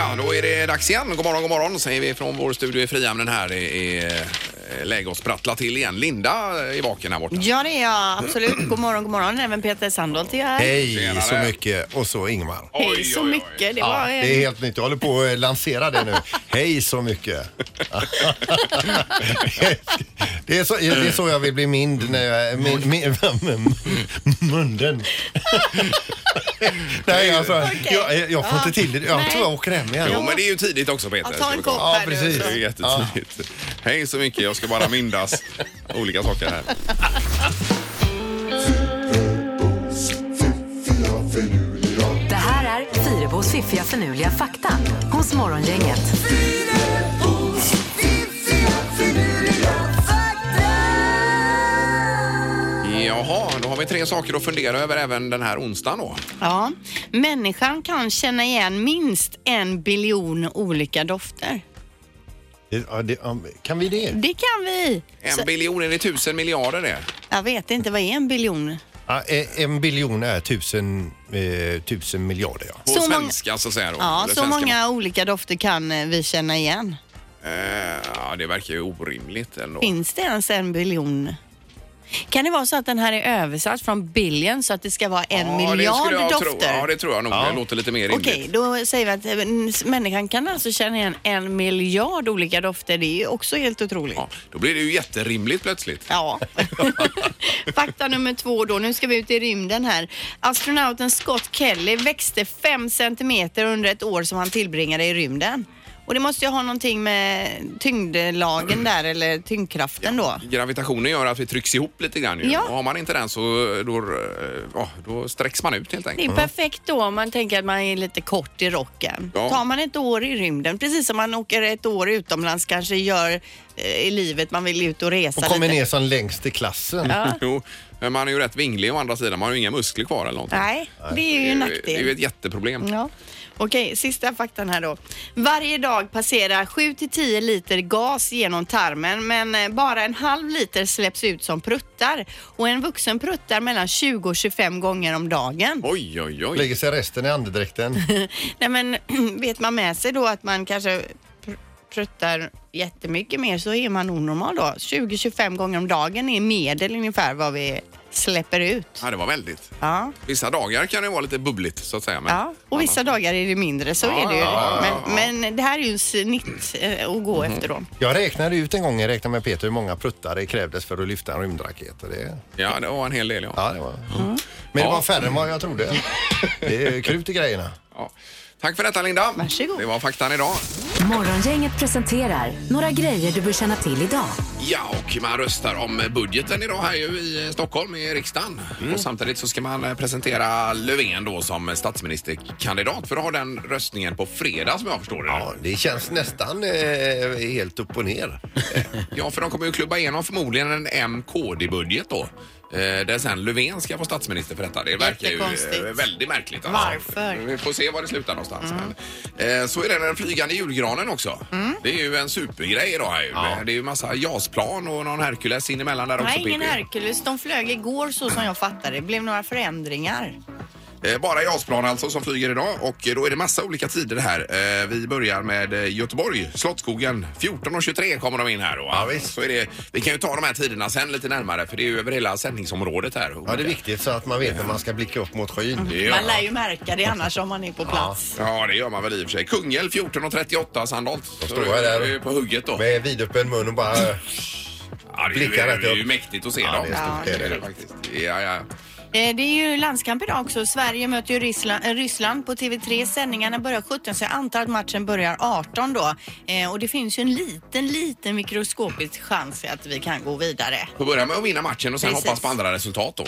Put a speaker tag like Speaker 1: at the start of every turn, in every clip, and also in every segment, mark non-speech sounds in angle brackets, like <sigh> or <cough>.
Speaker 1: är dags igen. God morgon, god morgon säger vi från vår studio i Frihamnen här. Det är eh, läge att sprattla till igen. Linda är vaken här borta.
Speaker 2: Ja, det är jag. Absolut. God morgon, god morgon. Även Peter Sandholt är här.
Speaker 3: Hej
Speaker 1: Tjenare.
Speaker 3: så mycket och så Ingmar.
Speaker 1: Oj,
Speaker 2: Hej så
Speaker 1: oj, oj.
Speaker 2: mycket. Det
Speaker 3: Ja,
Speaker 2: var
Speaker 3: det
Speaker 2: en...
Speaker 3: är helt nytt. Jag håller på att lansera det nu. Hej så mycket. <laughs> Det är så, det är så jag vill bli mind när jag... Min, min,
Speaker 2: <laughs>
Speaker 3: munden. Nej, alltså, jag, jag får inte till det. Jag tror jag åker hem
Speaker 1: Jo,
Speaker 3: igen.
Speaker 1: men det är ju tidigt också Peter.
Speaker 2: Ja, ta en kopp
Speaker 3: Ja,
Speaker 2: här nu.
Speaker 3: precis.
Speaker 1: Det är jättetidigt. Hej så mycket, jag ska bara
Speaker 2: <laughs>
Speaker 1: mindas olika saker här.
Speaker 4: Det här är Fyrabos fiffiga förnuliga fakta hos Morgongänget.
Speaker 1: Jaha, då har vi tre saker att fundera över även den här onsdagen då.
Speaker 2: Ja. Människan kan känna igen minst en biljon olika dofter.
Speaker 3: Ja, det, ja, kan vi det?
Speaker 2: Det kan vi.
Speaker 1: En
Speaker 2: Så,
Speaker 1: biljon, är det tusen miljarder det?
Speaker 2: jag vet inte, vad är en biljon?
Speaker 3: Ja, e- en biljon är tusen, eh, tusen miljarder, ja.
Speaker 1: På
Speaker 2: Så många-
Speaker 1: svenska så att säga då.
Speaker 2: Ja,
Speaker 1: Eller
Speaker 2: så
Speaker 1: svenska-
Speaker 2: många olika dofter kan eh, vi känna igen.
Speaker 1: Eh, Ja, det verkar ju orimligt ändå.
Speaker 2: Finns det ens en biljon? Kan det vara så att den här är översatt från billion så att det ska vara en
Speaker 1: Ja, det
Speaker 2: miljard
Speaker 1: skulle jag
Speaker 2: dofter?
Speaker 1: Tro. Ja, det tror jag nog. Det låter lite mer rimligt.
Speaker 2: Okej, då säger vi att eh, n- människan kan alltså känna igen en miljard olika dofter. Det är ju också helt otroligt.
Speaker 1: Ja, då blir det ju jätterimligt plötsligt.
Speaker 2: Ja. <laughs> Fakta nummer två då. Nu ska vi ut i rymden här. Astronauten Scott Kelly växte 5 centimeter under ett år som han tillbringade i rymden. Och det måste ju ha någonting med tyngdlagen där eller tyngdkraften då.
Speaker 1: Gravitationen gör att vi trycks ihop lite grann ju.
Speaker 2: Ja.
Speaker 1: Och har man inte den så då, eh, ja, då sträcks man ut helt
Speaker 2: Det är
Speaker 1: enkelt.
Speaker 2: perfekt då om man tänker att man är lite kort i rocken.
Speaker 1: Ja.
Speaker 2: Tar man ett år i rymden, precis som man åker ett år utomlands kanske gör eh, i livet, man vill ut och resa
Speaker 3: Och kommer
Speaker 2: lite.
Speaker 3: ner som längst i klassen.
Speaker 1: <laughs> Jo, men man är ju rätt vinglig å andra sidan. Man har ju inga muskler kvar eller någonting.
Speaker 2: Nej, det är ju en nackdel.
Speaker 1: Det är ju ett jätteproblem.
Speaker 2: Ja. Okej, sista faktan här då. Varje dag passerar 7 till 10 liter gas genom tarmen men eh, bara en halv liter släpps ut som pruttar och en vuxen pruttar mellan 20 och 25 gånger om dagen.
Speaker 1: Oj, oj, oj.
Speaker 3: Lägger sig resten i andedräkten.
Speaker 2: Nej men <clears throat> vet man med sig då att man kanske pr- pruttar jättemycket mer så är man onormal då. 20-25 gånger om dagen är medel ungefär vad vi släpper ut.
Speaker 1: Ja, det var väldigt.
Speaker 2: Ja.
Speaker 1: Vissa dagar kan det vara lite bubbligt så att säga. Men
Speaker 2: Ja, och vissa dagar är det mindre, så
Speaker 1: Ja,
Speaker 2: är det ju.
Speaker 1: ja, ja, ja.
Speaker 2: Men, men det här är ju en snitt eh, att gå efter då.
Speaker 3: Jag räknade ut en gång, jag räknade med Peter, hur många pruttar det krävdes för att lyfta en rymdraket. Och det,
Speaker 1: ja, det var en hel del ja.
Speaker 3: ja, det var. Mm. Men det var färre än vad jag trodde. Det är krut i grejerna.
Speaker 1: ja. Tack för detta Linda.
Speaker 2: Varsågod.
Speaker 1: Det var faktan idag.
Speaker 4: Morgongänget presenterar några grejer du bör känna till idag.
Speaker 1: Ja, och man röstar om budgeten idag här ju i Stockholm i riksdagen. Och samtidigt så ska man eh, presentera Löfven då som statsministerkandidat för att ha den röstningen på fredag som jag förstår det.
Speaker 3: Ja, det känns nästan eh, helt upp och ner.
Speaker 1: Ja, för de kommer ju klubba igenom förmodligen en M-KD-budget då. Eh, där sen Löfven ska vara statsminister för detta. Det verkar ju
Speaker 2: Jättekonstigt.
Speaker 1: eh, väldigt märkligt. Alltså.
Speaker 2: Varför? Mm.
Speaker 1: Vi får se var det slutar någonstans. Men, eh, så är det den flygande julgranen också. Det är ju en supergrej idag. Här ju. Det är ju massa JAS-plan och någon Hercules in emellan där också.
Speaker 2: Nej, ingen
Speaker 1: Pippi.
Speaker 2: Hercules. De flög igår så som jag fattade. Det blev några förändringar.
Speaker 1: Eh, Bara JAS-plan alltså som flyger idag och eh, då är det massa olika tider här. Eh, Vi börjar med eh, Göteborg, Slottsskogen. 14.23 kommer de in här då.
Speaker 3: Ja, visst.
Speaker 1: Så är det, vi kan ju ta de här tiderna sen lite närmare för det är ju över hela sändningsområdet här.
Speaker 3: Ja, det är viktigt så att man vet när man ska blicka upp mot skyn.
Speaker 1: Det gör
Speaker 2: Man
Speaker 1: man.
Speaker 2: lär ju märka det annars om man är på plats.
Speaker 1: Ja, det gör man väl i och för sig. Kungälv 14.38, Sandholt. Då
Speaker 3: står jag där.
Speaker 1: På hugget då.
Speaker 3: Med vidöppen mun och bara...
Speaker 1: Ja, det, är ju,
Speaker 3: blickar rätt
Speaker 1: det är ju
Speaker 3: upp.
Speaker 1: mäktigt att se
Speaker 3: Ja,
Speaker 1: dem.
Speaker 3: det är stort,
Speaker 2: Ja,
Speaker 3: det är det.
Speaker 1: faktiskt. Ja, ja.
Speaker 2: Eh, Det är ju landskamp idag också. Sverige möter ju Ryssland, eh, Ryssland på TV3. Sändningarna börjar 17 så jag antar att matchen börjar 18 då. Eh, Och det finns ju en liten, liten mikroskopisk chans att vi kan gå vidare.
Speaker 1: Får börja med att vinna matchen och sen
Speaker 2: Precis. Mm.
Speaker 1: hoppas på andra resultat då.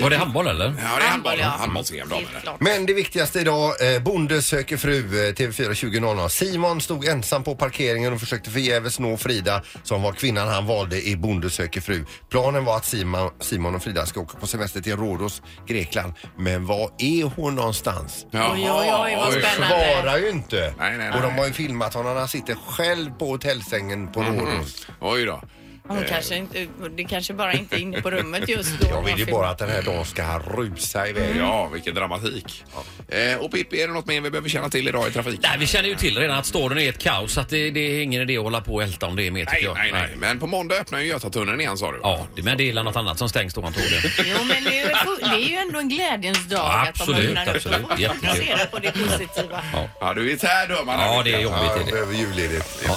Speaker 5: Var det handboll eller?
Speaker 1: Ja, det är handboll.
Speaker 2: ja.
Speaker 1: Handbolls-EM då.
Speaker 2: Helt klart.
Speaker 3: Men det viktigaste idag, eh, Bonde söker fru, eh, TV4 20.00. Simon stod ensam på parkeringen och försökte förgäves nå Frida som var kvinnan han valde i Bonde söker fru. Planen var att Simon, Simon och Frida ska åka på semester till Rhodos, Grekland. Men var är hon någonstans?
Speaker 1: Jaha,
Speaker 2: Oj, oj, oj, vad spännande.
Speaker 3: Svarar ju inte.
Speaker 1: Nej, Mm. nej, nej.
Speaker 3: Och de har ju filmat honom. Han sitter själv på hotellsängen på Rhodos.
Speaker 1: Oj då.
Speaker 2: Hon kanske inte, det kanske bara inte är inne på rummet just då.
Speaker 3: Jag vill ju bara att den här dagen ska rusa iväg.
Speaker 1: Ja, vilken dramatik. Mm. Eh, och Pippi, är det något mer vi behöver känna till idag i trafiken?
Speaker 5: Nej, vi känner ju till redan att staden är ett kaos, så att det, det är ingen idé att hålla på och älta om det är mer tycker
Speaker 1: Nej,
Speaker 5: jag.
Speaker 1: nej, nej. Men på måndag öppnar ju Götatunneln igen sa du.
Speaker 5: Ja, det- men det är något annat som stängs då antagligen.
Speaker 2: Jo, men nu, är det- det är ju ändå en glädjens dag
Speaker 5: Ja,
Speaker 2: att
Speaker 5: absolut,
Speaker 2: de öppnar upp.
Speaker 5: absolut.
Speaker 2: Då får man
Speaker 5: Jättekul.
Speaker 2: fokusera på det positiva.
Speaker 1: Ja, du är tär då man.
Speaker 5: Ja, det är
Speaker 3: Ja,
Speaker 5: jobbigt.
Speaker 3: jag
Speaker 5: Är det.
Speaker 3: behöver julledigt.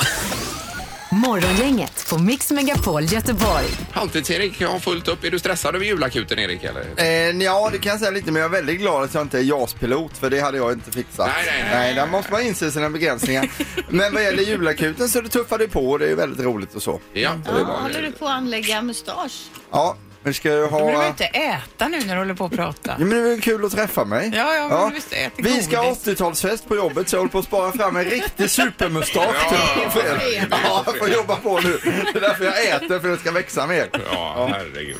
Speaker 4: Morgongänget på Mix Megapol Göteborg.
Speaker 1: Halvtids-Erik, jag har fullt upp. Är du stressad över julakuten Erik eller?
Speaker 6: Eh, ja, det kan jag säga lite, men jag är väldigt glad att jag inte är JAS-pilot för det hade jag inte fixat.
Speaker 1: Nej, nej, nej.
Speaker 6: där måste man inse
Speaker 3: <laughs>
Speaker 6: sina begränsningar. men vad gäller julakuten så det tuffar det på och det är väldigt roligt och så.
Speaker 1: Ja.
Speaker 2: Ja, håller du på att anlägga mustasch?
Speaker 6: Ja, men ska jag ha...
Speaker 7: Men du vill inte äta nu när du håller på att prata.
Speaker 6: Ja, men det var ju kul att träffa mig.
Speaker 7: Ja, ja, men visst, ät
Speaker 6: Vi ska ha
Speaker 7: godis.
Speaker 6: 80-talsfest på jobbet så jag håller på att spara fram en riktig supermustasch
Speaker 1: Ja,
Speaker 6: till- för
Speaker 2: det är
Speaker 6: er. Ja, jag får jobba på nu. Det är därför jag äter, för den ska växa mer.
Speaker 1: Ja, herregud.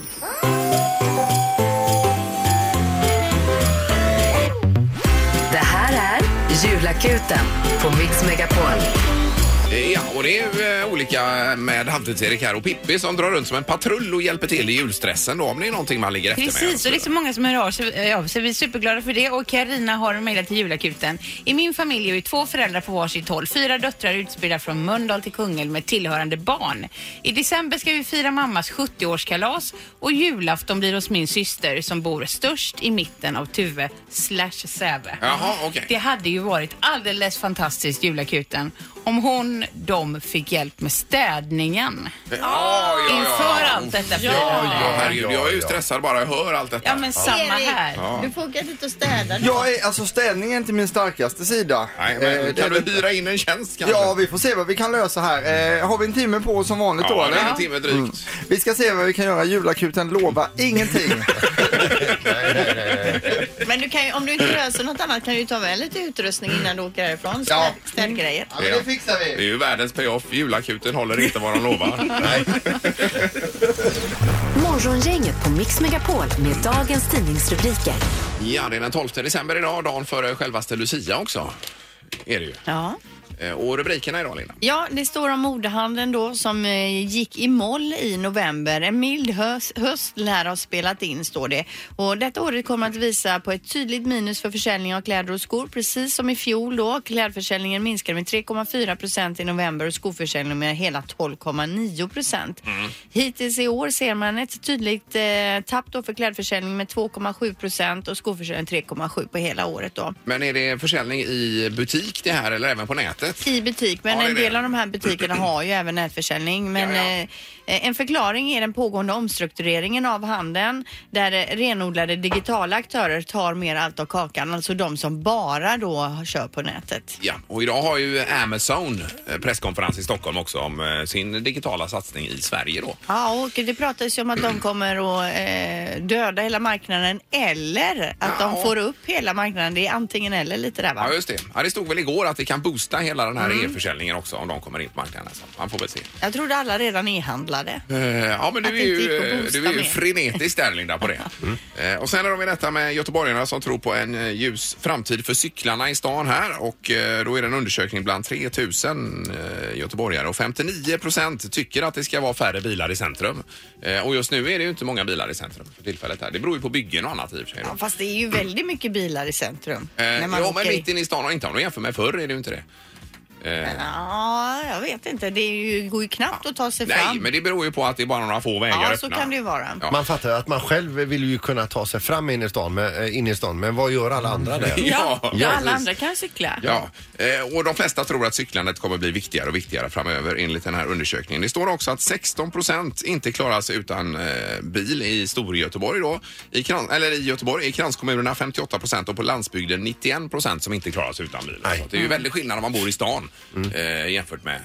Speaker 4: Det här är Julakuten på Mix Megapol.
Speaker 1: Eh, Ja, och det är ju eh, olika med Halvtids-Erik här och Pippi som drar runt som en patrull och hjälper till i julstressen då om det är någonting man ligger efter med.
Speaker 7: Precis, och det är så många som hör av sig, eh, av sig. Vi är superglada för det. Och Karina har mejlat till julakuten. I min familj är vi två föräldrar på varsitt håll. Fyra döttrar utspridda från Mölndal till Kungälv med tillhörande barn. I december ska vi fira mammas 70-årskalas och julafton blir hos min syster som bor störst i mitten av Tuve slash Säve.
Speaker 1: Jaha, okej.
Speaker 7: Det hade ju varit alldeles fantastiskt, julakuten, om hon, de fick hjälp med städningen.
Speaker 1: Ja, ja, ja.
Speaker 7: Inför allt detta.
Speaker 1: Ja, ja, herregud.
Speaker 3: Ja,
Speaker 1: Jag är ju
Speaker 3: ja.
Speaker 1: stressad bara jag hör allt detta.
Speaker 7: Ja, men samma
Speaker 2: Erik,
Speaker 7: här.
Speaker 2: Du får åka dit och städa. nu.
Speaker 6: Jag är, alltså städningen är inte min starkaste sida.
Speaker 1: Nej,
Speaker 6: Eh,
Speaker 1: men
Speaker 6: det
Speaker 1: kan
Speaker 6: är
Speaker 1: du
Speaker 6: det-
Speaker 1: hyra in en tjänst kanske?
Speaker 6: Ja, vi får se vad vi kan lösa här. Eh, har vi en timme på Mm. oss som vanligt då
Speaker 1: Ja, det är
Speaker 6: eller?
Speaker 1: en timme drygt.
Speaker 6: Vi ska se vad vi kan göra. Julakuten lovar <laughs> ingenting.
Speaker 2: Men du kan ju, om du inte löser något annat kan du ju ta med lite utrustning innan du åker härifrån.
Speaker 6: Ja.
Speaker 2: Städ, städgrejer.
Speaker 6: men det fixar vi.
Speaker 1: Det är ju världens payoff. Julakuten håller inte vad de lovar.
Speaker 4: Morgongänget på Mix Megapol med dagens tidningsrubriker.
Speaker 1: Ja, det är den 12 december idag, dagen före självaste Lucia också. Är det ju.
Speaker 2: Ja.
Speaker 1: Eh, Och rubrikerna idag, Linda?
Speaker 2: Ja, det står om modehandeln då som eh, gick i moll i november. En mild höst, höst lär ha spelat in, står det. Och detta året kommer att visa på ett tydligt minus för försäljning av kläder och skor, precis som i fjol då. Klädförsäljningen minskade med 3,4 procent i november och skoförsäljningen med hela 12,9 procent. Hittills i år ser man ett tydligt eh, tapp då för klädförsäljning med 2,7 procent och skoförsäljning 3,7 på hela året då.
Speaker 1: Men är det försäljning i butik det här eller även på nätet?
Speaker 2: i butik, men
Speaker 1: Ja, det är
Speaker 2: en
Speaker 1: det.
Speaker 2: del av de
Speaker 1: <clears throat>
Speaker 2: här butikerna har ju även nätförsäljning. Men
Speaker 1: Ja,
Speaker 2: Eh, en förklaring är den pågående omstruktureringen av handeln där eh, renodlade digitala aktörer tar mer allt av kakan, alltså de som bara då kör på nätet.
Speaker 1: Ja, och idag har ju Amazon eh, presskonferens i Stockholm också om eh, sin digitala satsning i Sverige då.
Speaker 2: Ja, och det pratas ju om att de kommer att eh, döda hela marknaden eller att
Speaker 1: Ja.
Speaker 2: de får upp hela marknaden. Det är antingen eller lite där va?
Speaker 1: Ja, just det. Ja, det stod väl igår att det kan boosta hela den här e-försäljningen också om de kommer in på marknaden. Så man får väl se.
Speaker 2: Jag trodde alla redan
Speaker 1: Eh,
Speaker 2: e-handlade.
Speaker 1: Ja, men
Speaker 2: Att
Speaker 1: du är
Speaker 2: det inte
Speaker 1: ju,
Speaker 2: gick att
Speaker 1: eh,
Speaker 2: boosta
Speaker 1: du är ju
Speaker 2: mer.
Speaker 1: frenetisk där Linda
Speaker 2: <laughs>
Speaker 1: på det. Eh, Och sen är de i detta med göteborgarna som tror på en eh, ljus framtid för cyklarna i stan här och eh, då är det en undersökning bland 3000 eh, göteborgare och 59 procent tycker att det ska vara färre bilar i centrum. Eh, Och just nu är det ju inte många bilar i centrum för tillfället här. Det beror ju på byggen och annat i och för sig. Då.
Speaker 2: Ja, fast det är ju väldigt mycket bilar i centrum.
Speaker 1: Eh, ja, men
Speaker 2: i-
Speaker 1: mitt inne i stan och inte om du jämför med förr är det ju inte det. Eh,
Speaker 2: Ja, jag vet inte. Det är ju, går ju knappt att ta sig fram.
Speaker 1: Nej, men det beror ju på att det är bara några få vägar
Speaker 2: Ja,
Speaker 1: öppna.
Speaker 2: så kan det ju vara.
Speaker 1: Ja.
Speaker 3: Man fattar att man själv vill ju kunna ta sig fram in i stan, men, eh, in i stan, men vad gör alla andra där?
Speaker 1: Ja,
Speaker 3: ja,
Speaker 1: precis.
Speaker 3: alla
Speaker 7: andra kan cykla.
Speaker 1: Ja, eh, och de flesta tror att cyklandet kommer bli viktigare och viktigare framöver enligt den här undersökningen. Det står också att 16 procent inte klarar sig utan eh, bil i Storgöteborg då. I kran, eller i Göteborg, i kranskommunerna 58 procent och på landsbygden 91 procent som inte klarar sig utan bil.
Speaker 3: Nej.
Speaker 1: Så att det är
Speaker 2: Mm.
Speaker 1: ju väldigt skillnad om man bor i stan eh, jämfört med...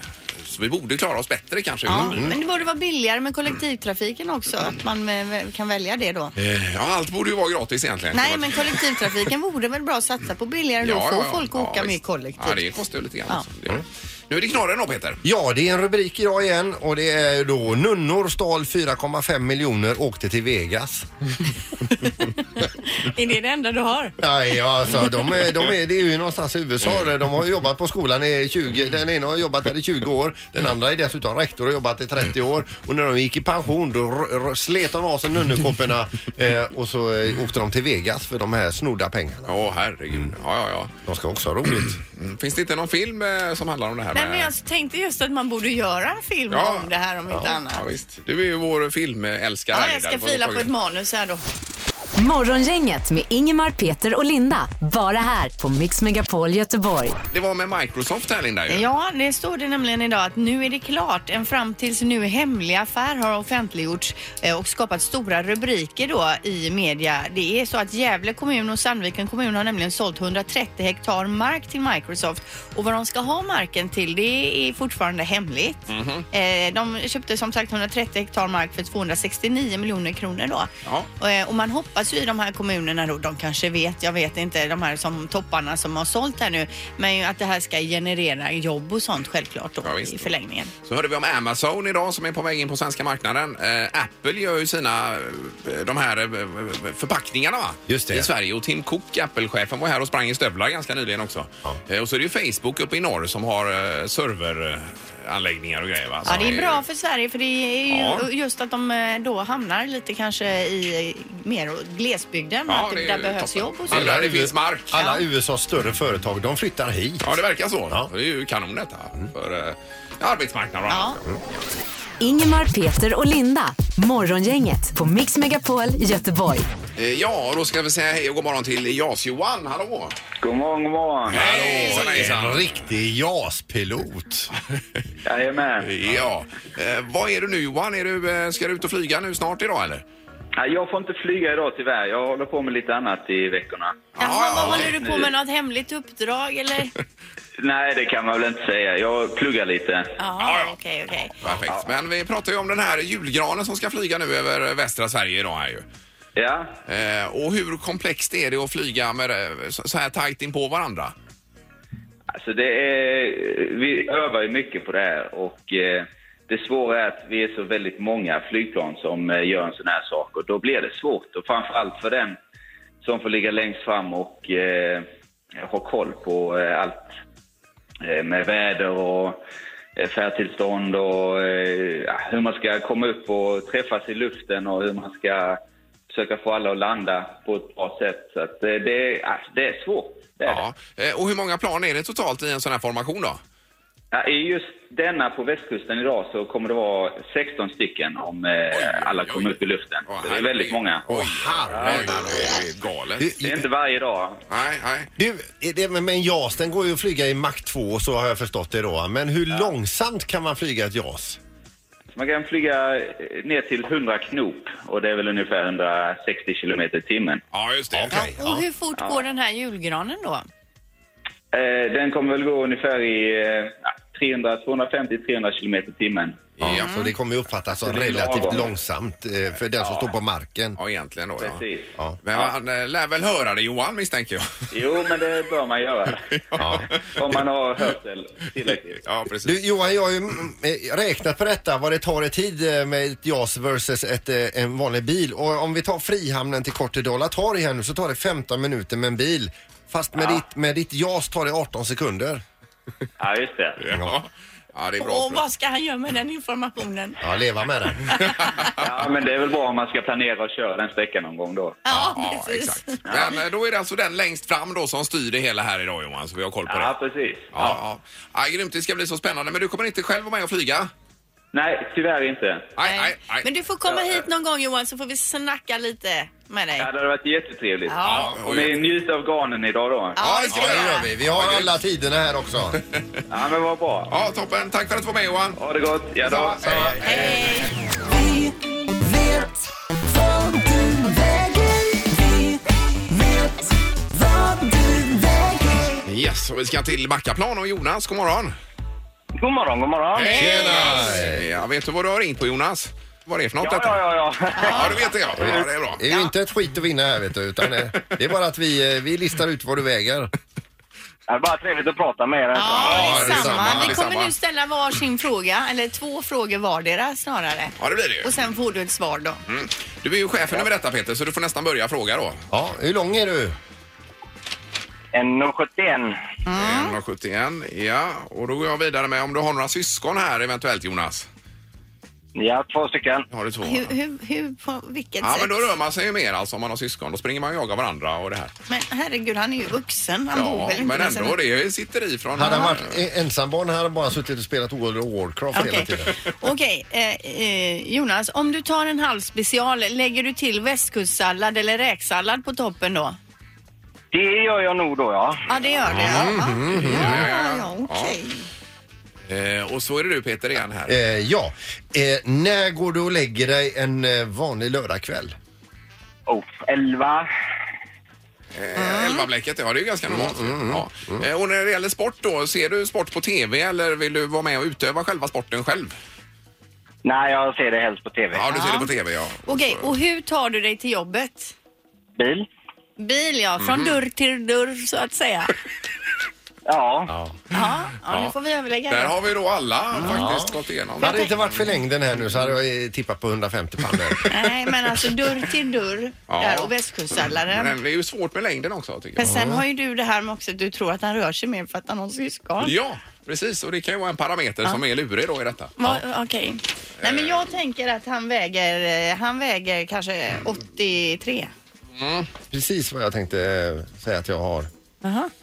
Speaker 1: Så vi borde klara oss bättre kanske utan
Speaker 2: Ja,
Speaker 1: bil.
Speaker 2: men det borde vara billigare med kollektivtrafiken också, att man eh, kan välja det då.
Speaker 1: Eh, Ja, allt borde ju vara gratis egentligen.
Speaker 2: Nej, men kollektivtrafiken vore väl bra att satsa på billigare då, få folk att åka
Speaker 1: visst.
Speaker 2: mer kollektivt.
Speaker 1: Ja, det kostar ju lite grann.
Speaker 2: Ja.
Speaker 1: också. Det gör det. Nu är det knorren då Peter.
Speaker 3: Ja, det är en rubrik idag igen och det är då nunnor stal 4,5 miljoner åkte till Vegas.
Speaker 7: <laughs> Är det det enda du har?
Speaker 3: Nej, alltså de är, de är, det är ju någonstans i USA. där. De har ju jobbat på skolan i 20, den ena har jobbat där i 20 år. Den andra är dessutom rektor och har jobbat i 30 år. Och när de gick i pension då r- r- slet de av sig nunnekopporna eh, och så eh, åkte de till Vegas för de här snodda pengarna.
Speaker 1: Ja,
Speaker 3: Mm.
Speaker 1: herregud. Ja, ja, ja.
Speaker 3: De ska också ha
Speaker 1: <clears throat>
Speaker 3: roligt.
Speaker 1: Mm. Finns det inte någon film eh, som handlar om det här?
Speaker 2: Nej,
Speaker 1: med-
Speaker 2: men jag tänkte just att man borde göra en film
Speaker 1: Ja.
Speaker 2: om det här om inte annat.
Speaker 1: Ja, visst. Du är ju vår filmälskare.
Speaker 2: Ja,
Speaker 1: här,
Speaker 2: jag ska
Speaker 1: Linda. Du får
Speaker 2: fila på
Speaker 1: fråga.
Speaker 2: ett manus här då.
Speaker 4: Morgongänget med Ingemar, Peter och Linda. Bara här på Mix Megapol Göteborg.
Speaker 1: Det var med Microsoft här Linda ju.
Speaker 2: Ja, det står det nämligen idag att nu är det klart. En fram tills nu hemlig affär har offentliggjorts eh, och skapat stora rubriker då i media. Det är så att Gävle kommun och Sandviken kommun har nämligen sålt 130 hektar mark till Microsoft och vad de ska ha marken till det är fortfarande hemligt.
Speaker 1: Mhm.
Speaker 2: Eh, De köpte som sagt 130 hektar mark för 269 miljoner kronor då.
Speaker 1: Ja.
Speaker 2: Och, eh, Och man hoppas ju i de här kommunerna då, de kanske vet, jag vet inte, de här som topparna som har sålt här nu, men ju att det här ska generera jobb och sånt självklart då
Speaker 1: Ja, visst.
Speaker 2: i förlängningen.
Speaker 1: Så hörde vi om Amazon idag som är på väg in på svenska marknaden. Eh, Apple gör ju sina eh, de här eh, förpackningarna va?
Speaker 3: Just det.
Speaker 1: i Sverige och Tim Cook, Apple-chefen, var här och sprang i stövlar ganska nyligen också. Eh, och så är det ju Facebook uppe i norr som har eh, serveranläggningar och grejer va?
Speaker 2: Ja,
Speaker 1: Som
Speaker 2: det är bra för Sverige för det är ju
Speaker 1: Ja.
Speaker 2: just att de eh, då hamnar lite kanske i mer åt glesbygden,
Speaker 1: Ja,
Speaker 2: att
Speaker 1: det
Speaker 2: det
Speaker 1: är
Speaker 2: där
Speaker 1: ju
Speaker 2: behövs
Speaker 1: toppen.
Speaker 2: jobb och så.
Speaker 1: Alla det finns mark.
Speaker 3: Alla USAs större företag, de flyttar hit.
Speaker 1: Ja, det verkar så.
Speaker 3: Ja. Mm.
Speaker 1: Det är ju kanon detta för eh, arbetsmarknaden och
Speaker 2: Ja.
Speaker 1: annat.
Speaker 4: Ingemar, Peter och Linda. Morgongänget på Mix Megapol Göteborg.
Speaker 1: Eh, Ja, och då ska vi säga hej och god morgon till Jas-Johan. Hallå!
Speaker 8: God morgon, god morgon.
Speaker 1: Hejsan,
Speaker 3: En
Speaker 1: hejsan!
Speaker 3: riktig JAS-pilot.
Speaker 8: Jajamän.
Speaker 1: Ja, eh, vad är du nu Johan? Är du, eh, ska du ut och flyga nu snart idag eller?
Speaker 8: Nej, Jag får inte flyga idag tyvärr. Jag håller på med lite annat i veckorna.
Speaker 2: Jaha, vad håller du
Speaker 8: ja.
Speaker 2: på med? Något hemligt
Speaker 1: <laughs>
Speaker 2: uppdrag eller?
Speaker 8: Nej, det kan man väl inte säga. Jag pluggar lite.
Speaker 2: Ja, okej, okej.
Speaker 1: Perfekt. Men vi pratar ju om den här julgranen som ska flyga nu över eh, västra Sverige idag här ju.
Speaker 8: Ja,
Speaker 1: Eh, Och hur komplext är det att flyga med eh, så så här tajt in på varandra?
Speaker 8: alltså det är... Vi övar ju mycket på det här och eh, det svåra är att vi är så väldigt många flygplan som eh, gör en sån här sak och då blir det svårt och framförallt för den som får ligga längst fram och eh, ha koll på eh, allt eh, med väder och eh, färdtillstånd och eh, ja, hur man ska komma upp och träffas i luften och hur man ska försöka få alla att landa på ett bra sätt. Så att eh, det, är- alltså, det är svårt. Det är det.
Speaker 1: Ja. Eh, Och hur många plan är det totalt i en sån här formation då?
Speaker 8: Ja, I just denna på västkusten idag så kommer det vara 16 stycken om eh, alla
Speaker 1: oj,
Speaker 8: kommer
Speaker 1: oj.
Speaker 8: upp i luften.
Speaker 1: Åh,
Speaker 8: det är väldigt
Speaker 1: herregud.
Speaker 8: många.
Speaker 1: Åh, herregud. Det är galet.
Speaker 8: Det är inte varje dag.
Speaker 1: Nej, nej.
Speaker 3: Du, är det, men- men JAS den går ju att flyga i Mach 2 så har jag förstått det då. Men hur långsamt kan man flyga ett JAS?
Speaker 8: Man kan flyga eh, ner till 100 knop och det är väl ungefär 160 kilometer i timmen.
Speaker 1: Ja, just det.
Speaker 3: Okej.
Speaker 2: Och hur fort går den här julgranen då?
Speaker 8: Eh, den kommer väl gå ungefär i eh, ja, 300, 250-300 kilometer i timmen.
Speaker 3: Ja, så det kommer ju uppfattas som
Speaker 8: Det är
Speaker 3: relativt
Speaker 8: lagom.
Speaker 3: långsamt eh, för den som står på marken.
Speaker 1: Ja, egentligen då. Ja.
Speaker 8: Precis.
Speaker 3: Ja.
Speaker 1: Men han eh, lär väl höra det Johan misstänker jag. <laughs>
Speaker 8: Jo, men det bör man göra.
Speaker 1: Ja.
Speaker 8: Om man har hörsel tillräckligt.
Speaker 1: Ja, precis.
Speaker 3: Du Johan, jag har ju mm, eh, räknat på detta, vad det tar i tid eh, med ett JAS versus ett, eh, en vanlig bil. Och om vi tar Frihamnen till Kortedala torg här nu så tar det 15 minuter med en bil. Fast med, ditt, med ditt JAS tar det 18 sekunder.
Speaker 8: Ja, just det.
Speaker 1: Ja. ja, det är bra.
Speaker 2: Och vad ska han göra med den informationen?
Speaker 3: Ja, leva med den.
Speaker 8: Ja, men det är väl bra om man ska planera och köra den sträckan någon gång då.
Speaker 1: Ja, exakt. Men eh, då är det alltså den längst fram då som styr det hela här idag Johan, så vi har koll på
Speaker 8: Ja,
Speaker 1: det.
Speaker 8: precis.
Speaker 1: Ja, ja. ja, grymt. Det ska bli så spännande. Men du kommer inte själv vara med och flyga?
Speaker 8: Nej, tyvärr inte.
Speaker 1: Nej, nej, nej.
Speaker 2: Men du får komma hit någon gång Johan så får vi snacka lite med dig.
Speaker 8: Det hade varit jättetrevligt.
Speaker 1: Ja,
Speaker 8: Och
Speaker 1: oj.
Speaker 8: ni njuter av garnen idag då?
Speaker 1: ja, det ska
Speaker 3: Ja,
Speaker 1: vi
Speaker 3: det
Speaker 1: göra.
Speaker 3: gör vi. Vi har alla tiderna här också.
Speaker 8: Ja, men vad bra.
Speaker 1: Ja, toppen. Tack för att du var med Johan.
Speaker 8: Ha det gott. Ja, då.
Speaker 1: Ja, hej. Yes, och vi ska till Backaplan och Jonas, god morgon.
Speaker 8: God morgon, god morgon.
Speaker 1: Tjena! Ja, vet du vad du har ringt på Jonas? Vad är det för något
Speaker 8: Ja,
Speaker 1: detta?
Speaker 8: ja, ja, ja.
Speaker 1: Ja, du vet det ja. ja det är bra.
Speaker 3: Det är ju inte ett skit att vinna här vet du, utan eh, det är bara att vi, eh, vi listar ut vad du väger.
Speaker 9: Det är bara trevligt att prata med er.
Speaker 2: Ja,
Speaker 1: Ja,
Speaker 2: det är
Speaker 1: detsamma,
Speaker 2: samma. Vi
Speaker 1: detsamma.
Speaker 2: kommer nu ställa var sin fråga, eller två frågor vardera snarare.
Speaker 1: Ja, det blir det ju.
Speaker 2: Och sen får du ett svar då.
Speaker 1: Mm. Du är ju chefen över detta Peter, så du får nästan börja fråga då.
Speaker 3: Ja, hur lång är du?
Speaker 9: En och 71.
Speaker 1: 171, ja. Och då går jag vidare med om du har några syskon här eventuellt Jonas?
Speaker 9: Ja, två stycken.
Speaker 1: Har du två?
Speaker 2: Hur, hur, hur på vilket
Speaker 1: Ja,
Speaker 2: sätt?
Speaker 1: men då rör man sig ju mer alltså om man har syskon. Då springer man och jagar varandra och det här.
Speaker 2: Men herregud, han är ju vuxen. Han bor
Speaker 1: Ja,
Speaker 2: väl inte
Speaker 1: men
Speaker 2: med
Speaker 1: ändå, det sitter i från...
Speaker 3: Hade han varit e- ensambarn hade han bara suttit och spelat World of Warcraft hela
Speaker 2: Okej,
Speaker 3: tiden.
Speaker 2: Okej, eh, eh, Jonas. Om du tar en halv special, lägger du till västkustsallad eller räksallad på toppen då?
Speaker 9: Det gör jag nog då, ja.
Speaker 2: Ja, det gör det. Ja, ja,
Speaker 1: ja, ja.
Speaker 2: ja, ja, ja okej.
Speaker 1: Eh, och så är det du Peter igen här.
Speaker 3: Eh, ja, eh, när går du och lägger dig en eh, vanlig lördagkväll?
Speaker 9: Oh, elva.
Speaker 1: Eh, Elvablecket, ja det är ju ganska normalt.
Speaker 3: Mm,
Speaker 1: ja. Eh, och när det gäller sport då, ser du sport på TV eller vill du vara med och utöva själva sporten själv?
Speaker 9: Nej, jag ser det helst på TV.
Speaker 1: Ja, du ser det på TV ja.
Speaker 2: Okej, och hur tar du dig till jobbet?
Speaker 9: Bil?
Speaker 2: Bil ja, från
Speaker 1: Mhm.
Speaker 2: dörr till dörr så att säga.
Speaker 9: Ja.
Speaker 2: Ja, ja nu får vi överlägga
Speaker 1: Där
Speaker 2: det.
Speaker 1: har vi då alla faktiskt gått igenom.
Speaker 3: Hade det inte varit för längden här nu så hade jag eh, tippat på 150
Speaker 2: <laughs>
Speaker 3: pannor.
Speaker 2: Nej, men alltså dörr till dörr
Speaker 1: Ja.
Speaker 2: där och västkustsalladen.
Speaker 1: Men det är ju svårt med längden också tycker jag.
Speaker 2: Men sen har ju du det här med också att du tror att han rör sig mer för att han har syskon.
Speaker 1: Ja, precis. Och det kan ju vara en parameter som är lurig då i detta.
Speaker 2: Va- Okej. Nej men jag tänker att han väger, eh, han väger kanske 83.
Speaker 3: Precis vad jag tänkte eh, säga att jag har.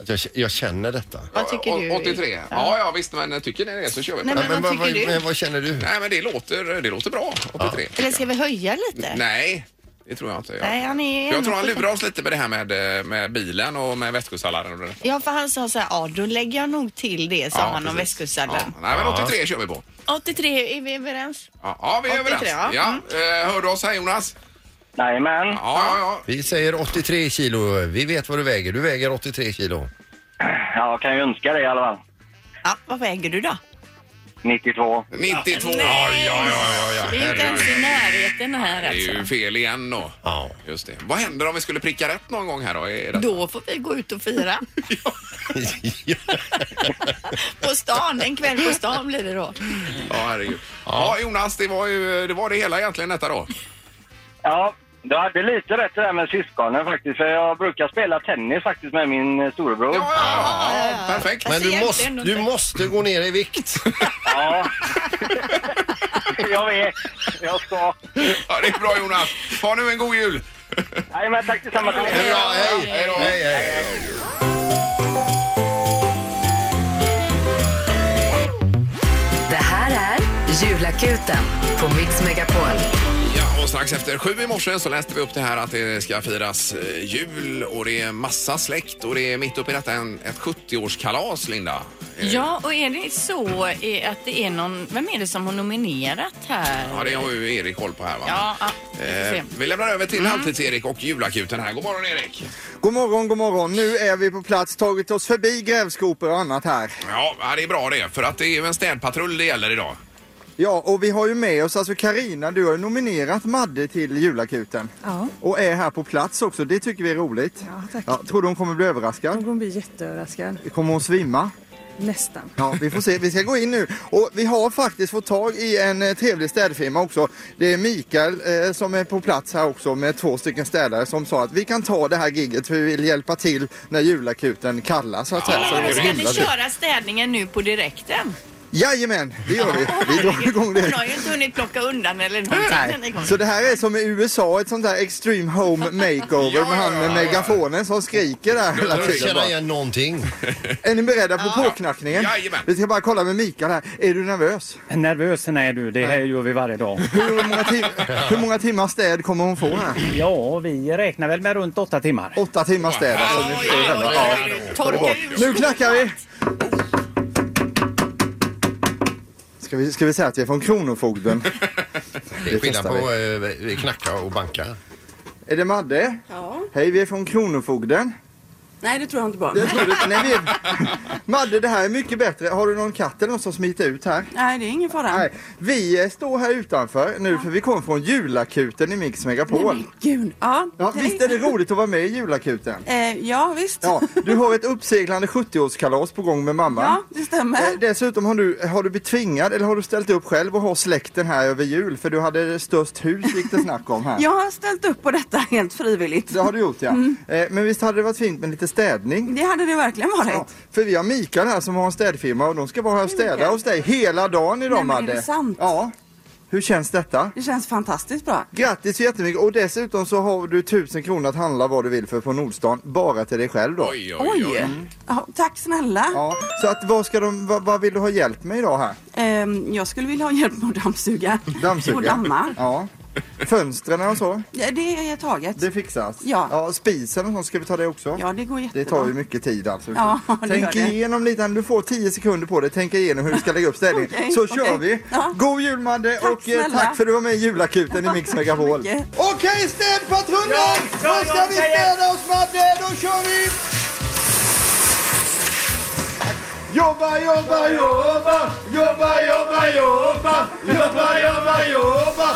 Speaker 3: Att jag, jag känner detta.
Speaker 2: Vad tycker
Speaker 1: Å-
Speaker 2: du?
Speaker 1: 83. Ja. ja, visst, men tycker ni det så kör vi på
Speaker 2: Nej,
Speaker 1: det.
Speaker 2: men vad
Speaker 3: vad,
Speaker 2: tycker du?
Speaker 3: men vad känner du?
Speaker 1: Nej, men det låter, det låter bra. 83.
Speaker 2: Eller ska vi höja lite?
Speaker 1: Nej, det tror jag inte. Jag,
Speaker 2: Nej, han är
Speaker 1: jag tror han
Speaker 2: 1,75.
Speaker 1: lurar oss lite med det här med, eh, med bilen och med västkustsalladen. och det där.
Speaker 2: Ja för han sa så här, ja då lägger jag nog till det sa
Speaker 1: Ja,
Speaker 2: han om
Speaker 1: precis.
Speaker 2: västkustsalladen.
Speaker 1: Ja, nej, men 83 kör vi på.
Speaker 2: 83, är vi överens?
Speaker 1: Ja, ja vi är
Speaker 2: 83,
Speaker 1: överens.
Speaker 2: ja. Mm.
Speaker 1: Ja, eh, hör du oss här Jonas?
Speaker 9: Jajamän.
Speaker 1: Ja, ja, ja.
Speaker 3: Vi säger 83 kilo. Vi vet vad du väger. Du väger 83 kilo.
Speaker 9: Ja, kan ju önska det i alla fall.
Speaker 2: Ja, vad väger du då?
Speaker 9: 92.
Speaker 1: 92.
Speaker 2: Nej.
Speaker 1: Ja, ja, ja, ja,
Speaker 2: Vi
Speaker 1: ja.
Speaker 2: är inte ens i närheten här
Speaker 1: Det är ju
Speaker 2: alltså.
Speaker 1: fel igen då.
Speaker 3: <laughs> Ja.
Speaker 1: Just det. Vad händer om vi skulle pricka rätt någon gång här då? Är det...
Speaker 2: Då får vi gå ut
Speaker 1: <laughs>
Speaker 2: och fira. på stan, en kväll på stan blir det då.
Speaker 1: Ja, herregud. Ja. Jonas, det var ju det, var det hela egentligen detta då.
Speaker 9: Ja, du hade lite rätt det där med syskonen faktiskt. För jag brukar spela tennis faktiskt med min eh, storebror.
Speaker 1: Ja, ja, ja, ja. perfekt.
Speaker 3: Men du
Speaker 2: Alltså, egentligen
Speaker 3: måste,
Speaker 2: inte.
Speaker 3: du måste gå ner
Speaker 2: <laughs>
Speaker 3: i vikt.
Speaker 9: Ja. jag vet. Jag ska.
Speaker 1: Ja, det är bra Jonas. Ha nu en god jul.
Speaker 9: Jajamän, tack detsamma till er.
Speaker 3: Bra, hej! Hej, hej, hej.
Speaker 4: Det här är Julakuten på Mix Megapol.
Speaker 1: Ja, och strax efter sju i morse så läste vi upp det här att det ska firas eh, jul och det är massa släkt och det är mitt uppe i detta en, ett 70-årskalas, Linda. Eh,
Speaker 2: Ja, och är det så eh, att det är någon, vem är det som har nominerat här?
Speaker 1: Ja, det har ju Erik koll på här va?
Speaker 2: Ja, ja, vi får se. Mm.
Speaker 1: Eh, vi lämnar över till Halvtids-Erik och julakuten här. God morgon Erik!
Speaker 6: God morgon, god morgon. Nu är vi på plats, tagit oss förbi grävskopor och annat här.
Speaker 1: Ja, ja, det är bra det, för att det är ju en städpatrull det gäller idag.
Speaker 6: Ja, och vi har ju med oss, alltså Karina, du har ju nominerat Madde till julakuten.
Speaker 10: Ja.
Speaker 6: Och är här på plats också, det tycker vi är roligt.
Speaker 10: Ja, tack.
Speaker 6: tror du hon kommer bli överraskad?
Speaker 10: Hon blir jätteöverraskad.
Speaker 6: Kommer hon svimma?
Speaker 10: Nästan.
Speaker 6: Ja, vi får se. Vi ska gå in nu. Och vi har faktiskt fått tag i en eh, trevlig städfirma också. Det är Mikael eh, som är på plats här också med två stycken städare som sa att vi kan ta det här giget för vi vill hjälpa till när julakuten kallar så att säga. Så
Speaker 2: Men
Speaker 6: det är
Speaker 2: ska ni
Speaker 6: himla trevligt.
Speaker 2: köra städningen nu på direkten?
Speaker 6: Jajamän, det gör vi. Vi drar igång
Speaker 2: Hon
Speaker 6: det.
Speaker 2: har ju inte hunnit plocka undan eller någonting när ni
Speaker 6: Nej.
Speaker 2: kommer.
Speaker 6: Så det här är som i USA, ett sånt där extreme home makeover med han med megafonen som skriker där hela
Speaker 3: Jag
Speaker 6: tiden.
Speaker 3: känner
Speaker 6: Bara.
Speaker 3: igen någonting.
Speaker 6: Är ni beredda på påknackningen?
Speaker 1: Jajamän.
Speaker 6: Vi ska bara kolla med Mikael här. Är du nervös?
Speaker 9: Nervös är du, det här gör vi varje dag.
Speaker 6: Hur många, tim- hur många timmar städ kommer hon få här?
Speaker 9: Ja, vi räknar väl med runt åtta timmar.
Speaker 6: Åtta timmar städ.
Speaker 2: Oj,
Speaker 6: Alltså, ni
Speaker 2: oj,
Speaker 6: förstår
Speaker 2: oj,
Speaker 6: själva.
Speaker 2: oj, oj.
Speaker 6: Ja.
Speaker 2: Torka
Speaker 6: Det är bra.
Speaker 2: ur.
Speaker 6: Nu knackar vi! Ska vi, ska vi säga att vi är från Kronofogden?
Speaker 3: Det är skillnad på eh, knacka och banka.
Speaker 6: Är det Madde?
Speaker 10: Ja.
Speaker 6: Hej, vi är från Kronofogden.
Speaker 10: Nej, det tror jag inte på.
Speaker 6: Det tror du inte. Nej, vi... Madde, det här är <laughs> mycket bättre. Har du någon katt eller något som smiter ut här?
Speaker 10: Nej, det är ingen fara.
Speaker 6: Nej, vi eh, står här utanför nu för vi kommer från julakuten i Mix
Speaker 10: Nej,
Speaker 6: Megapol.
Speaker 10: men gud. Ja,
Speaker 6: Ja,
Speaker 10: hej.
Speaker 6: visst är det roligt att vara med i julakuten?
Speaker 10: Eh, ja, visst.
Speaker 6: Ja, du har ett uppseglande 70-årskalas på gång med mamma.
Speaker 10: Ja, det stämmer.
Speaker 6: Eh, Dessutom har du, har du blivit tvingad eller har du ställt upp själv och har släkten här över jul? För du hade störst hus gick det
Speaker 10: <laughs>
Speaker 6: snack om här.
Speaker 10: Jag har ställt upp på detta helt frivilligt.
Speaker 6: Det har du gjort ja.
Speaker 10: Mm.
Speaker 6: Eh, Men visst hade det varit fint med lite städning?
Speaker 10: Det hade det verkligen varit.
Speaker 6: Ja, för vi har Mikael här som har en städfirma och de ska vara här och städa
Speaker 10: Mikael.
Speaker 6: hos dig hela dagen idag
Speaker 10: Nej, men är
Speaker 6: Madde.
Speaker 10: det sant?
Speaker 6: Ja. Hur känns detta?
Speaker 10: Det känns fantastiskt bra.
Speaker 6: Grattis så jättemycket och dessutom så har du tusen kronor att handla vad du vill för på Nordstan, bara till dig själv då.
Speaker 1: Oj, oj,
Speaker 10: Oj!
Speaker 1: oj.
Speaker 10: Ja, tack snälla.
Speaker 6: Ja, så att vad, ska de, vad, vad vill du ha hjälp med idag här?
Speaker 10: Ehm, jag skulle vilja ha hjälp med att dammsuga.
Speaker 6: Dammsuga?
Speaker 10: Och damma.
Speaker 6: Ja. Fönstren och så,
Speaker 10: Ja, Det är taget.
Speaker 6: det fixas.
Speaker 10: Ja.
Speaker 6: spisen och sånt, ska vi ta det också?
Speaker 10: Ja, det går jättebra.
Speaker 6: Det tar ju mycket tid alltså.
Speaker 10: Ja, det
Speaker 6: Tänk
Speaker 10: gör det.
Speaker 6: igenom lite, du får 10 sekunder på dig, tänk igenom hur du ska lägga upp ställningen.
Speaker 10: <laughs> Okej,
Speaker 6: så kör
Speaker 10: okej.
Speaker 6: vi!
Speaker 10: Ja.
Speaker 6: God jul Madde
Speaker 10: Tack
Speaker 6: och eh,
Speaker 10: snälla.
Speaker 6: tack för att du var med i julakuten i
Speaker 10: Tack
Speaker 6: Mix
Speaker 10: så
Speaker 6: Megapol.
Speaker 10: mycket.
Speaker 6: Okej städpatrullen! Nu ska vi städa oss Madde, då kör vi! Jobba, jobba, jobba! Jobba, jobba, jobba! Jobba, jobba, jobba!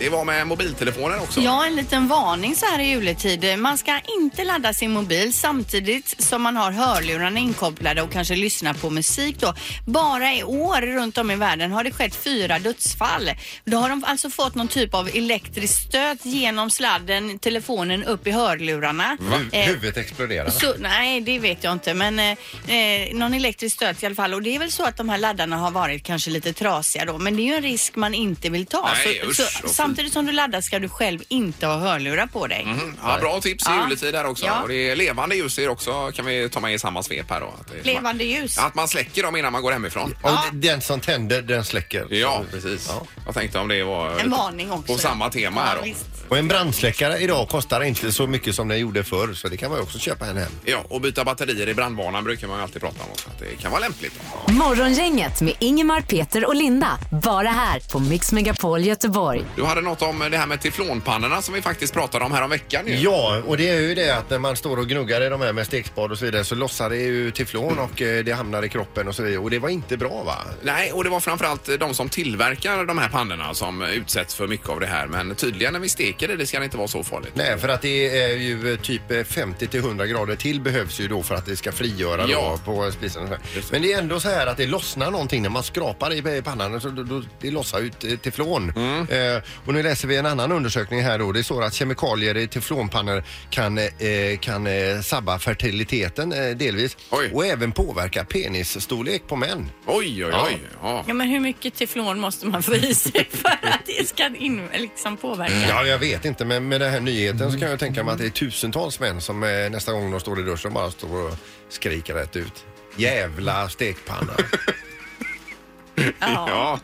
Speaker 1: Det var med mobiltelefonen också.
Speaker 2: Ja, en liten varning så här i juletid. Man ska inte ladda sin mobil samtidigt som man har hörlurarna inkopplade och kanske lyssnar på musik då. Bara i år runt om i världen har det skett fyra dödsfall. Då har de alltså fått någon typ av elektrisk stöt genom sladden, telefonen upp i hörlurarna. Eh,
Speaker 3: Huvudet exploderar.
Speaker 2: så, nej, det vet jag inte. Men eh, eh, någon elektrisk stöt i alla fall. Och det är väl så att de här laddarna har varit kanske lite trasiga då. Men det är ju en risk man inte vill ta.
Speaker 1: Nej, usch,
Speaker 2: så,
Speaker 1: vad
Speaker 2: så,
Speaker 1: fint.
Speaker 2: samtidigt som du laddar ska du själv inte ha hörlurar på dig.
Speaker 1: Mm, ja, bra tips i
Speaker 2: Ja.
Speaker 1: juletid där också.
Speaker 2: Ja.
Speaker 1: Och det är levande ljus är också kan vi ta med i samma svep här då. Att det,
Speaker 2: Levande ljus.
Speaker 1: Att man släcker dem innan man går hemifrån.
Speaker 3: Och d- Den som tänder, den släcker.
Speaker 1: Ja, precis. Jag tänkte om det var
Speaker 2: En varning också.
Speaker 1: på samma tema här
Speaker 2: Ja,
Speaker 1: då.
Speaker 2: visst.
Speaker 3: Och en brandsläckare idag kostar inte så mycket som den gjorde förr så det kan man ju också köpa en hem.
Speaker 1: Ja, och byta batterier i brandbanan brukar man ju alltid prata om. Så att det kan vara lämpligt.
Speaker 4: Morgongänget med Ingemar, Peter och Linda. Bara här på Mix Megapol Göteborg.
Speaker 1: Du hade något om det här med teflonpannorna som vi faktiskt pratade om här om veckan ju.
Speaker 3: Ja, och det är ju det att när man står och gnuggar i de här med stekspad och så vidare så lossar det ju teflon och eh, det hamnar i kroppen och så vidare. Och det var inte bra va?
Speaker 1: Nej, och det var framförallt de som tillverkar de här pannorna som utsätts för mycket av det här. Men tydligen när vi steker det, det ska inte vara så farligt.
Speaker 3: Nej, för att det är ju eh, typ eh, 50 till 100 grader till behövs ju då för att det ska frigöra
Speaker 1: Ja.
Speaker 3: då på spisen. och så där.
Speaker 1: Just det.
Speaker 3: Men det är ändå så här att det lossnar någonting när man skrapar i i pannan. Så då, då, det lossar ut eh, teflon.
Speaker 1: Mm.
Speaker 3: Eh, och nu läser vi en annan undersökning här då. Det står att kemikalier i teflonpannor kan, eh, kan eh, sabba fertiliteten eh, delvis.
Speaker 1: Oj.
Speaker 3: Och även påverka penisstorlek på män.
Speaker 1: Oj, oj, oj. Ja.
Speaker 2: Ja, men hur mycket teflon måste man få i sig för att det ska in, liksom påverka?
Speaker 3: Ja, jag vet inte, men med den här nyheten så kan jag tänka mig att det är tusentals män som eh, nästa gång de står i duschen bara står och skriker rätt ut. Jävla stekpanna.
Speaker 1: Ja.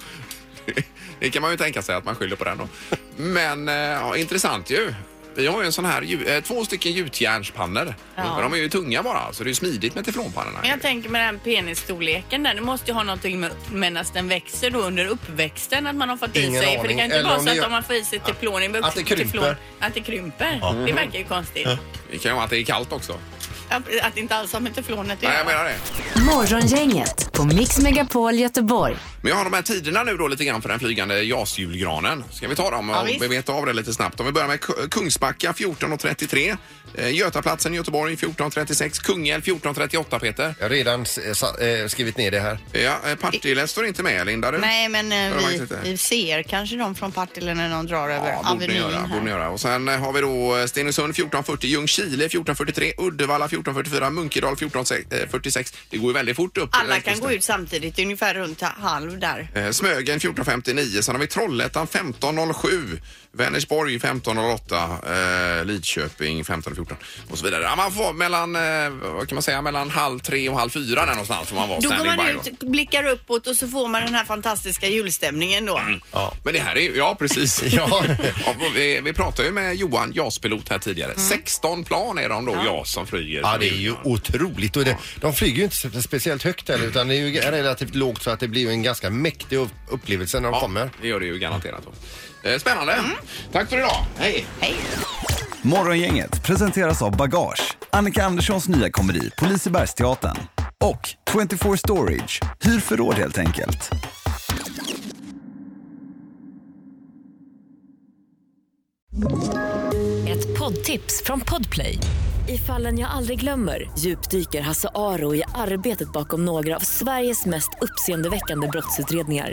Speaker 1: <laughs> Det kan man ju tänka sig att man skyller på den då. Men eh, ja, intressant ju. Vi har ju en sån här, ju- eh, två stycken gjutjärnspannor.
Speaker 2: Ja.
Speaker 1: Men De är ju tunga bara, så det är ju smidigt med teflonpannorna.
Speaker 2: Men jag tänker med den penisstorleken där, det måste ju ha någonting med medan den växer då under uppväxten att man har fått i
Speaker 3: Ingen
Speaker 2: sig. För det
Speaker 3: aning.
Speaker 2: kan inte
Speaker 3: Eller
Speaker 2: vara
Speaker 3: om
Speaker 2: så
Speaker 3: det
Speaker 2: att
Speaker 3: gör-
Speaker 2: om man får i sig teflon i en
Speaker 3: Att det
Speaker 2: vuxen
Speaker 3: krymper.
Speaker 2: teflon, att det krymper. Det verkar ju konstigt.
Speaker 1: Det kan ju vara att det är kallt också.
Speaker 2: Att, att det inte alls har med teflonet att
Speaker 1: Nej,
Speaker 2: göra.
Speaker 1: jag menar det.
Speaker 4: Morgongänget på Mix Megapol Göteborg.
Speaker 1: Men jag har de här tiderna nu då lite grann för den flygande JAS-julgranen. Ska vi ta dem och
Speaker 2: visst.
Speaker 1: beta av det lite snabbt? Om vi börjar med Ku- Kungsbacka 14.33, eh, Götaplatsen i Göteborg 14.36, Kungälv 14.38 Peter.
Speaker 3: Jag har redan s- eh, sa- eh, skrivit ner det här.
Speaker 1: Ja, eh, Partille står inte med Linda du?
Speaker 2: Nej, men
Speaker 1: Har
Speaker 2: eh,
Speaker 1: de
Speaker 2: vi,
Speaker 1: märkt det?
Speaker 2: vi ser kanske de från Partille när de drar över
Speaker 1: Ja, borde ni
Speaker 2: Avenyn
Speaker 1: göra,
Speaker 2: här.
Speaker 1: borde ni göra. Och sen eh, har vi då eh, Stenungsund 14.40, Ljungskile 14.43, Uddevalla 14.44, Munkedal 14.46. Det går ju väldigt fort upp.
Speaker 2: Alla
Speaker 1: eh,
Speaker 2: kan gå ut samtidigt, ungefär runt halv där.
Speaker 1: Eh, Smögen 14.59, sen har vi Trollhättan 15.07, Vänersborg 15.08, eh, Lidköping 15.14 och så vidare. Ja, man får mellan, eh, vad kan man säga, mellan halv tre och halv fyra där någonstans får man vara
Speaker 2: Då går
Speaker 1: standing
Speaker 2: man
Speaker 1: by
Speaker 2: ut, blickar uppåt och så får man den här fantastiska julstämningen då.
Speaker 1: Ja. Men det här är ju, ja precis.
Speaker 3: <laughs> Ja.
Speaker 1: Ja, vi, vi pratade ju med Johan, JAS-pilot här tidigare. 16 plan är de då, JAS, som flyger.
Speaker 3: Ja, det är ju otroligt. Och det, de flyger ju inte så- speciellt högt heller utan det är ju relativt lågt så att det blir ju en ganska mäktig upp- upplevelse när de
Speaker 1: Ja,
Speaker 3: kommer.
Speaker 1: det gör det ju garanterat. Då. Eh, Spännande. Tack för idag. Hej.
Speaker 2: Hej!
Speaker 11: Morgongänget presenteras av Bagage, Annika Anderssons nya komedi på Lisebergsteatern och 24 Storage, hyr förråd helt enkelt.
Speaker 2: Ett poddtips från Podplay. I fallen jag aldrig glömmer djupdyker Hasse Aro i arbetet bakom några av Sveriges mest uppseendeväckande brottsutredningar.